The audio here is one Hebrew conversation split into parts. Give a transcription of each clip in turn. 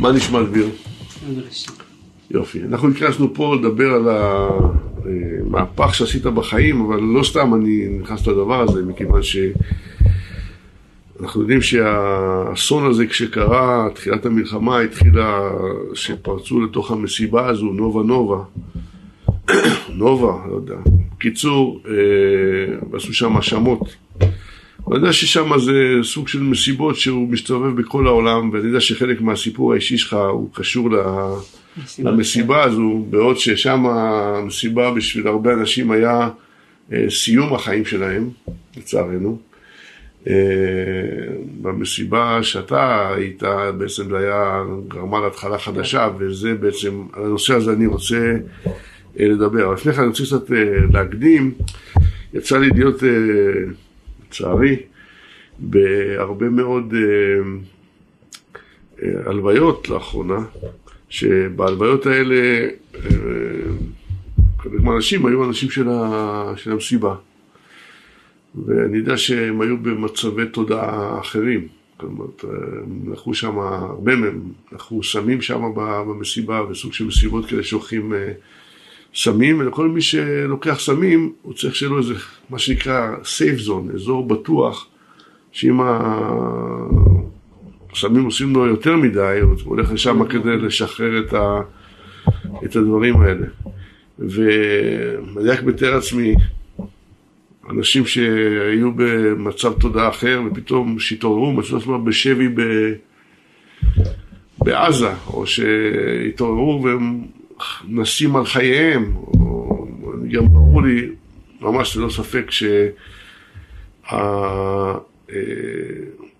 מה נשמע דביר? לא יופי. אנחנו התכנסנו פה לדבר על המהפך שעשית בחיים, אבל לא סתם אני נכנס לדבר הזה, מכיוון ש... אנחנו יודעים שהאסון הזה כשקרה, תחילת המלחמה התחילה, שפרצו לתוך המסיבה הזו, נובה נובה, נובה, לא יודע. קיצור, אה, עשו שם האשמות. ואני יודע ששם זה סוג של מסיבות שהוא מסתובב בכל העולם, ואני יודע שחלק מהסיפור האישי שלך הוא קשור ל... למסיבה הזו, בעוד ששם המסיבה בשביל הרבה אנשים היה אה, סיום החיים שלהם, לצערנו. אה, במסיבה שאתה היית, בעצם זה היה גרמה להתחלה חדשה, וזה בעצם, על הנושא הזה אני רוצה אה, לדבר. אבל לפני כן אני רוצה קצת אה, להקדים, יצא לי להיות, אה, לצערי, בהרבה מאוד אה, אה, הלוויות לאחרונה, שבהלוויות האלה, אה, חלק מהאנשים היו אנשים של, ה, של המסיבה. ואני יודע שהם היו במצבי תודעה אחרים. כלומר, הם לקחו שם, הרבה מהם לקחו סמים שם במסיבה, וסוג של מסיבות כאלה שלוקחים אה, סמים, ולכל מי שלוקח סמים, הוא צריך שיהיה לו איזה, מה שנקרא, safe zone, אזור בטוח, שאם הסמים עושים לו יותר מדי, הוא הולך לשם כדי לשחרר את, ה, את הדברים האלה. ואני רק מתאר לעצמי, אנשים שהיו במצב תודעה אחר ופתאום שהתעוררו, מצאו עצמם בשבי ב... בעזה, או שהתעוררו והם נסים על חייהם, או... גם ברור לי, ממש ללא ספק,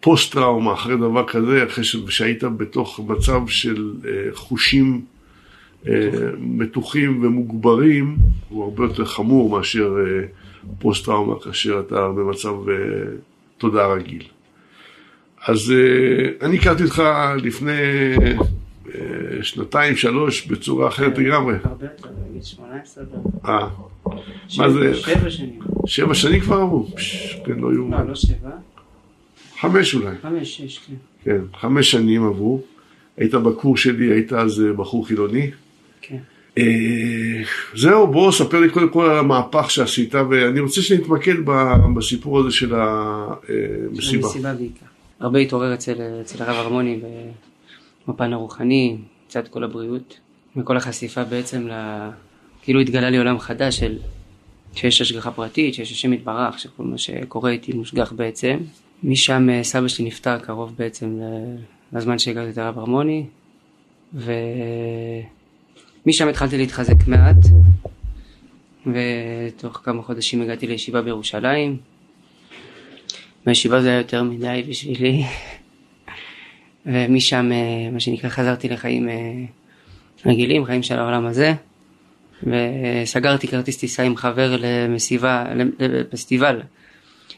שהפוסט טראומה אחרי דבר כזה, אחרי שהיית בתוך מצב של אה, חושים אה, מתוחים ומוגברים, הוא הרבה יותר חמור מאשר... פוסט טראומה כאשר אתה במצב uh, תודעה רגיל. אז uh, אני הכרתי אותך לפני uh, שנתיים, שלוש, בצורה כן. אחרת לגמרי. הרבה יותר, נגיד 18 אה, ש- מה זה? שבע שנים. שבע שנים כבר עברו? פש, כן, לא לא, יאומן. לא שבע, חמש אולי, חמש, שש, כן. כן, חמש שנים עברו. היית בקור שלי, היית אז אה, בחור חילוני. כן. אה, זהו, בוא ספר לי קודם כל על המהפך שעשית, ואני רוצה שנתמקד ב- בסיפור הזה של אה, המסיבה. המסיבה בעיקר. הרבה התעורר אצל, אצל הרב הרמוני בפן הרוחני, מצד כל הבריאות, וכל החשיפה בעצם ל... כאילו התגלה לי עולם חדש של... שיש השגחה פרטית, שיש השם יתברך, שכל מה שקורה איתי מושגח בעצם. משם אה, סבא שלי נפטר קרוב בעצם ל- לזמן שהגעתי את הרב הרמוני, ומשם התחלתי להתחזק מעט, ותוך כמה חודשים הגעתי לישיבה בירושלים. והישיבה זה היה יותר מדי בשבילי. ומשם, אה, מה שנקרא, חזרתי לחיים אה, רגילים, חיים של העולם הזה. וסגרתי כרטיס טיסה עם חבר למסיבה, לפסטיבל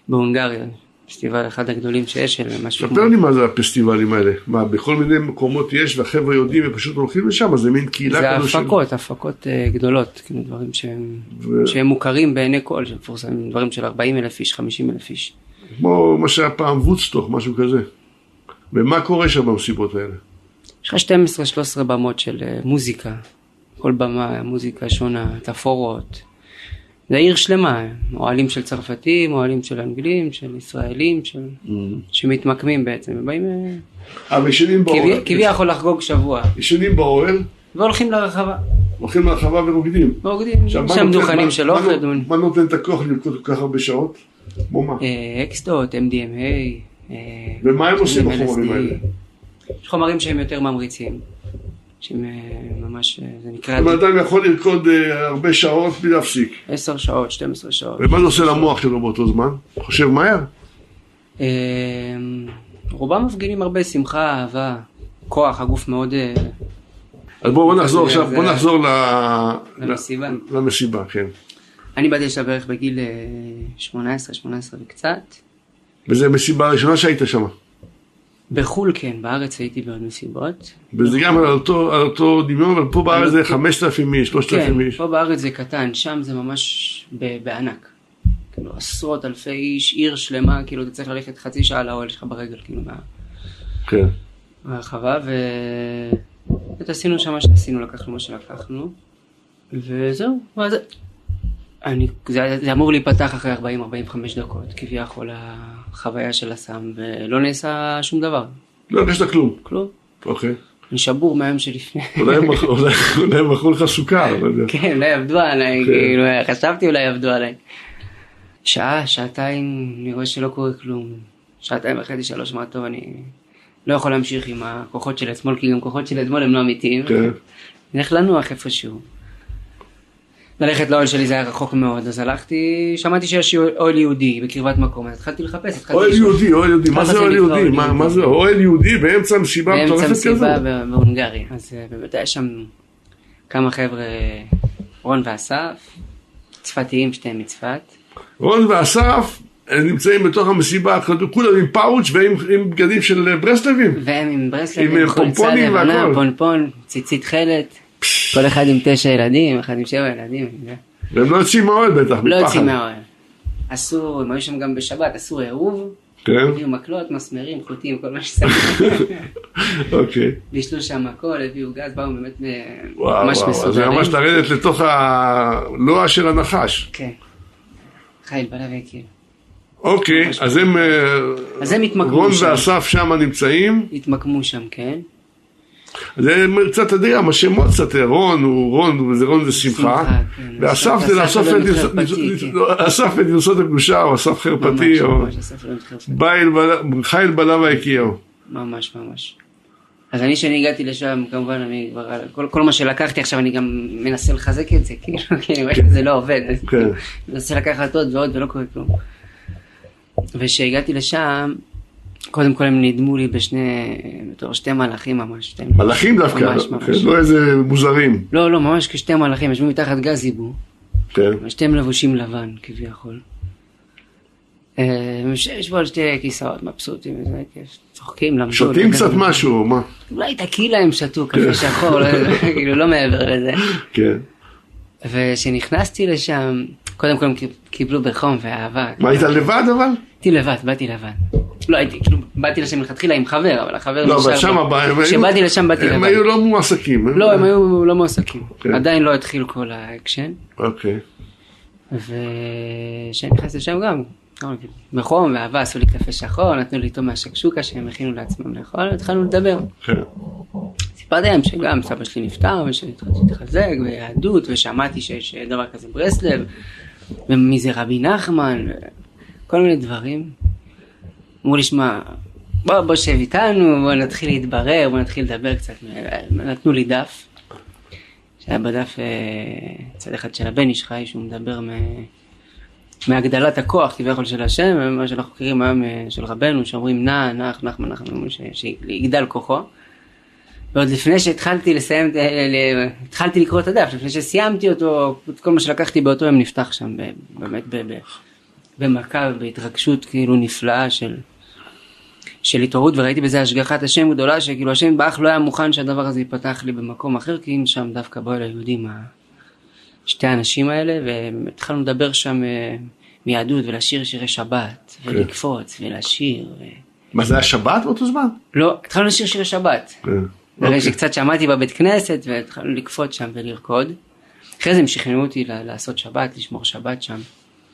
בהונגריה, פסטיבל אחד הגדולים שיש, של משהו ספר לי מה זה הפסטיבלים האלה, מה בכל מיני מקומות יש והחבר'ה יודעים ופשוט הולכים לשם, אז זה מין קהילה זה כזו של- הפקות, הפקות אה, גדולות, כאילו דברים שהם, ו- שהם מוכרים בעיני כל, שמפורסמים, דברים של 40 אלף איש, 50 אלף איש. כמו מה שהיה פעם וודסטוק, משהו כזה. ומה קורה שם במסיבות האלה? יש לך 12-13 במות של אה, מוזיקה, כל במה, מוזיקה שונה, תפאורות. זה עיר שלמה, אוהלים של צרפתים, אוהלים של אנגלים, של ישראלים, של... Mm-hmm. שמתמקמים בעצם, ובאים אה, אבל ישנים באוהל, כבי- כביכול לחגוג שבוע, ישנים באוהל, והולכים לרחבה, הולכים לרחבה ורוקדים. ורוקדים, עכשיו, מה שם נותן- דוכנים מה- של מה אוכל, נו- מה נותן את הכוח לרקוד כל כך הרבה שעות? כמו מה? אה, אקסטות, MDMA. אה, ומה הם עושים LSD. בחומרים האלה? יש חומרים שהם יותר ממריצים, שהם אה, ממש, אה, זה נקרא אם אדם יכול לרקוד אה, הרבה שעות בלי להפסיק. 10 שעות, 12 שעות. ומה זה עושה למוח שלו באותו זמן? חושב מהר? אה, רובם מפגינים הרבה שמחה, אהבה, כוח, הגוף מאוד... אה, אז בואו בואו נחזור זה- עכשיו, אה, זה- בואו נחזור ל- למסיבה. ל- למסיבה, כן. אני באתי לשם בערך בגיל אה, 18, 18 וקצת. וזו המסיבה הראשונה שהיית שם. בחו"ל כן, בארץ הייתי בעוד מסיבות. וזה גם על אותו, על אותו דמיון, אבל פה בארץ זה 5,000 איש, 3,000 אה, כן, איש. פה בארץ זה קטן, שם זה ממש ב- בענק. כאילו עשרות אלפי איש, עיר שלמה, כאילו אתה צריך ללכת חצי שעה לאוהל שלך ברגל, כאילו מה... כן. הרחבה, ועשינו שם מה שעשינו, לקחנו מה שלקחנו, וזהו. ואז... אני, זה, זה אמור להיפתח אחרי 40-45 דקות, כביכול החוויה של הסם, ולא נעשה שום דבר. לא הרגשת כלום. כלום. אוקיי. אני שבור מהיום שלפני. אולי הם מכרו- אולי- אולי הם מכרו לך סוכר, לא יודע. כן, אולי עבדו עליי, כן. כאילו, חשבתי אולי עבדו עליי. שעה, שעתיים, אני רואה שלא קורה כלום. שעתיים וחצי, שלוש, מה טוב, אני לא יכול להמשיך עם הכוחות של אתמול, כי גם כוחות של אתמול הם לא אמיתיים. כן. נלך לנוח איפשהו. ללכת לאוהל שלי זה היה רחוק מאוד, אז הלכתי, שמעתי שיש אוהל יהודי בקרבת מקום, אז התחלתי לחפש, התחלתי אוהל לשאול. יהודי, אוהל יהודי, מה ככה זה זה אוהל נקרא, יהודי? אוהל מה- יהודי. מה זה אוהל יהודי באמצע מסיבה באמצע מטורפת כזאת? מסיבה ב- בהונגריה. אז אה, באמת היה שם כמה חבר'ה, רון ואסף, צפתיים, שתיהם מצפת. רון ואסף אה, נמצאים בתוך המסיבה, כולם עם פאוץ' ועם עם בגדים של אה, ברסלבים. והם עם ברסלב, עם, אה, פומפונים והכל. פונפון, ציצית חלת, כל אחד עם תשע ילדים, אחד עם שבע ילדים. אני יודע. והם לא יוצאים מהאוהל בטח, לא יוצאים מפחד. מהאוהל. אסור, הם היו שם גם בשבת, אסור עירוב, כן, הביאו מקלות, מסמרים, חוטים, כל מה שצריך. אוקיי. בישלו שם הכל, הביאו גז, באו באמת אה, וואו, ממש אה? וואו, אז זה מסודרים. ממש לרדת לתוך הלוע של הנחש. כן. חייל בלווה כאילו. אוקיי, אז הם, אה, אז הם התמקמו רון שם. ואסף שם נמצאים, התמקמו שם, כן. זה קצת אדיר, השמות קצת, אה, רון הוא רון, זה רון זה שמחה, שמחה, כן. ואסף זה אסף לאסוף אלון את גרסות- חרפתי, כן. לא, אסף את גרסות הקדושה, או אסף חרפתי, ממש, או ממש, הספר לא מתחרפן. בייל בל- חיל בלם היקיר. ממש, ממש. אז אני, כשאני הגעתי לשם, כמובן, אני כבר, כל, כל מה שלקחתי עכשיו, אני גם מנסה לחזק את זה, כאילו, כי אני רואה שזה לא עובד. אז כן. מנסה לקחת עוד ועוד, ולא קורה כלום. וכשהגעתי לשם, קודם כל הם נדמו לי בשני, בתור שתי מלאכים ממש. שתי מלאכים דווקא, ממש, ממש. לא איזה מוזרים, לא, לא, ממש כשתי מלאכים, ישבו מתחת גז זיבור. כן, שתיהם לבושים לבן כביכול. אה, הם ישבו על שתי כיסאות מבסוטים, זה היה כיף, צוחקים, למדו. לא שותים יודע. קצת משהו, מה, אולי טקילה הם שתו, קפה שחור, לא יודע, כאילו לא מעבר לזה. כן, וכשנכנסתי לשם, קודם כל הם קיבלו בחום ואהבה. מה היית לבד אבל? באתי לבד, באתי לבד. לא הייתי, כאילו, באתי לשם מלכתחילה עם חבר, אבל החבר לא, נשאר אבל שם פה. הבעיה, הם היו- כשבאתי לשם באתי הם לבד. היו לא מועסקים, לא, הם היו לא מועסקים. כן. עדיין לא התחיל כל האקשן. אוקיי, וכשנכנסתי לשם גם, גם בחום ואהבה עשו לי קפה שחור, נתנו לי איתו מהשקשוקה שהם הכינו לעצמם לאכול, והתחלנו לדבר. כן, סיפרתי להם שגם סבא שלי נפטר, ושהתחלתי להתחזק, ויהדות, ושמעתי שיש אה, דבר כזה ברסלב, ומי זה רבי נחמן, כל מיני דברים. אמרו לי, שמע, בוא, בוא שב איתנו, בוא נתחיל להתברר, בוא נתחיל לדבר קצת. נתנו לי דף, שהיה בדף אה, צד אחד של הבן איש חי, שהוא מדבר מ... מהגדלת הכוח כביכול של השם, מה שאנחנו מכירים היום אה, של רבנו, שאומרים נע, נח, נחמן, נחמן, ש- שיגדל כוחו. ועוד לפני שהתחלתי לסיים, אה, ל- התחלתי לקרוא את הדף, לפני שסיימתי אותו, את כל מה שלקחתי באותו יום נפתח שם, ב- באמת ב- ב- במכה ובהתרגשות כאילו נפלאה של, של התעוררות, וראיתי בזה השגחת השם גדולה, שכאילו השם באח לא היה מוכן שהדבר הזה ייפתח לי במקום אחר, כי אם שם דווקא באו אל היהודים ה- שתי האנשים האלה, והתחלנו לדבר שם אה, מיהדות ולשיר שירי שבת, ולקפוץ ולשיר. ו... מה זה היה שבת באותו זמן? לא, התחלנו לשיר שירי שבת. כן, אחרי שקצת שמעתי בבית כנסת והתחלנו לקפוץ שם ולרקוד. אחרי זה הם שכנעו אותי ל- לעשות שבת, לשמור שבת שם.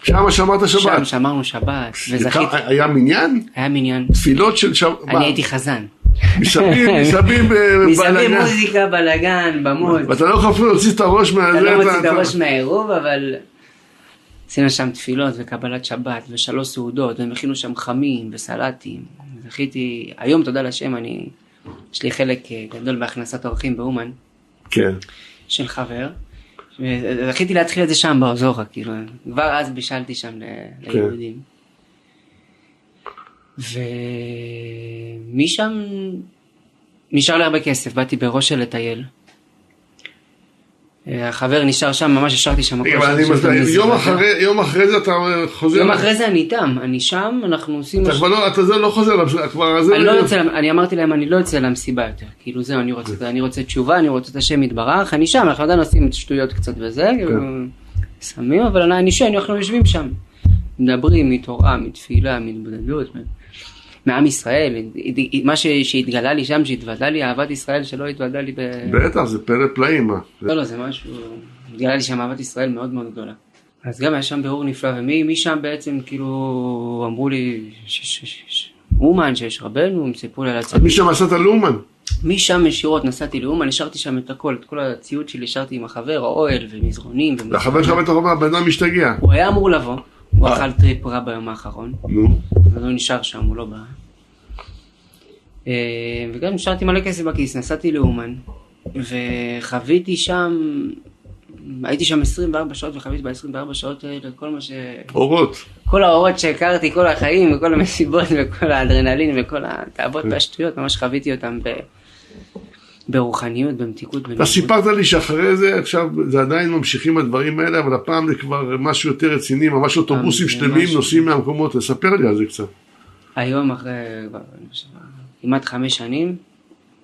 שם שמעת שם שבת. שמרנו שבת, וזכיתי. כמה- היה מניין? היה מניין. תפילות של שבת. אני הייתי חזן. מסביב, מסביב אה, מסביב בלאגן. מוזיקה, בלאגן, במות. ואתה לא יכול אפילו להוציא את הראש מה... אתה זה, לא מוציא את הראש מהעירוב, אבל... עשינו שם תפילות וקבלת שבת ושלוש סעודות, והם הכינו שם חמים וסלטים. זכיתי, היום תודה לשם, אני, יש לי חלק אה, גדול בהכנסת אורחים באומן. כן. של חבר. זכיתי להתחיל את זה שם באוזורה, כאילו, כבר אז בישלתי שם ל- כן. ליהודים. ומשם נשאר לי הרבה כסף, באתי בראש של לטייל. החבר נשאר שם, ממש השארתי שם. הכל רגע, אבל שם, אני שם מסתכל, במזוודה. יום אחרי- יום אחרי זה אתה אה, חוזר... יום אחרי זה אני איתם, אני שם, אנחנו עושים... אתה מה ש- כבר לא, אתה זה לא חוזר, אתה כבר... זה- אני לא יוצא, אני אמרתי להם אני לא יוצא למסיבה יותר, כאילו זהו אני רוצה, אני רוצה תשובה, אני רוצה את השם יתברך, אני שם, אנחנו עדיין עושים שטויות קצת וזה, כאילו, סמים, אבל אני- אני שם, אנחנו יושבים שם, מדברים מתורה, מתפילה, מהתבודדות, מ- מעם ישראל, מה ש, שהתגלה לי שם, שהתוודע לי, אהבת ישראל שלא התוודע לי ב... בטח, זה פלא פלאים. לא, לא, זה משהו, התגלה לי שם אהבת ישראל מאוד מאוד גדולה. אז גם היה שם בירור נפלא, ומשם בעצם כאילו אמרו לי, אומן, שיש רבנו, הם סיפרו לי על הצדיק. משם נסעת לאומן. משם ישירות נסעתי לאומן, השארתי שם את הכל, את כל הציוד שלי השארתי עם החבר, האוהל ומזרונים. והחבר שלך בטח אומר, הבן אדם השתגע. הוא היה אמור לבוא, הוא אכל טריפ רע ביום האחרון. נו. אז הוא נשאר שם, הוא לא בא. אה, וגם נשארתי מלא כסף בכיס, נסעתי לאומן, וחוויתי שם, הייתי שם 24 שעות, וחוויתי ב-24 שעות האלה כל מה ש... אורות. כל האורות שהכרתי, כל החיים, וכל המסיבות, וכל האדרנלין, וכל התאבות והשטויות, ממש חוויתי אותם ב... ברוחניות, במתיקות. אתה סיפרת לי שאחרי זה, עכשיו זה עדיין ממשיכים הדברים האלה, אבל הפעם זה כבר משהו יותר רציני, אה, ממש אוטובוסים שלמים נוסעים מהמקומות, תספר לי על זה קצת. היום אחרי לא כמעט חמש שנים,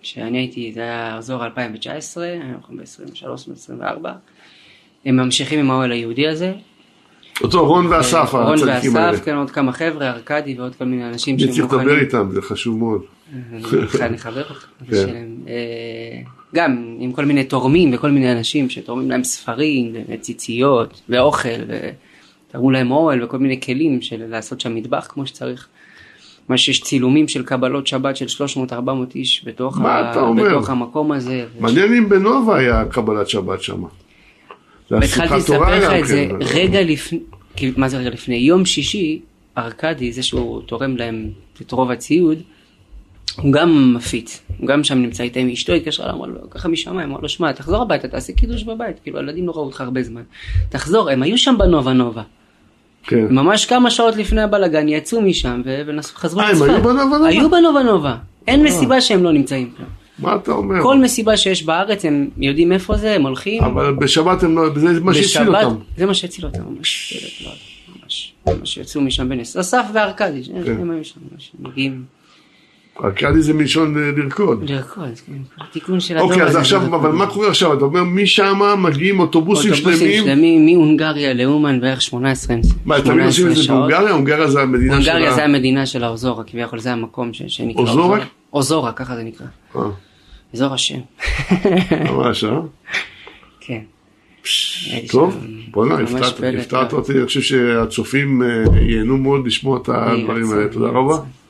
שאני הייתי, זה היה אזור 2019, היום ב-23, 24, הם ממשיכים עם האוהל היהודי הזה. אותו רון ואסף, רון ואסף, כן, עוד כמה חבר'ה, ארכדי ועוד כל מיני אנשים שהם מוכנים. צריך לדבר איתם, זה חשוב מאוד. אני אחבר אותך. אה, גם עם כל מיני תורמים וכל מיני אנשים שתורמים להם ספרים וציציות ואוכל ותרמו להם אוהל וכל מיני כלים של לעשות שם מטבח כמו שצריך. מה שיש צילומים של קבלות שבת של 300-400 איש בתוך, ה... בתוך המקום הזה. מעניין אם בנובה היה קבלת שבת שם. התחלתי לספר לך כן. את זה רגע לפני, מה זה רגע לפני? יום שישי, ארכדי, זה שהוא תורם להם את רוב הציוד, הוא גם מפיץ, הוא גם שם נמצא איתה עם אשתו, התקשרה אליו, אמר לו, ככה משמיים, אמר לו, שמע, תחזור הביתה, תעשה קידוש בבית, כאילו, הילדים לא ראו אותך הרבה זמן. תחזור, הם היו שם בנובה נובה. כן. ממש כמה שעות לפני הבלאגן יצאו משם וחזרו לצפת. אה, היו בנובה נובה? אה. כן. היו בנובה נובה. אין מסיבה שהם לא נמצאים פה. מה אתה אומר? כל מסיבה שיש בארץ, הם יודעים איפה זה, הם הולכים. אבל בשבת הם לא, זה מה שהציל אותם. זה מה שהציל אותם, ממש. ממש, ממש יצאו משם בנס. אסף וארכדי, הם היו שם, מגיעים. ארכדי זה מלשון אה, לרקוד. לרקוד, כן. תיקון של הדור הזה. אוקיי, אז לא, עכשיו, אבל מה קורה עכשיו? אתה אומר, משם מגיעים אוטובוסים שלמים. אוטובוסים שלמים מהונגריה לאומן בערך 18 שעות. מה, תמיד עושים את זה בהונגריה? הונגריה זה המדינה של ה... הונגריה זה המדינה של האוזורה, כביכול זה המקום שנקרא אוזורה. אוזורה, ככה זה נקרא. אזור השם. ממש, אה? כן. טוב, בוא'נה, אה. אה, הפתעת אותי, אני חושב שהצופים ייהנו מאוד לשמוע את הדברים האלה, תודה רבה.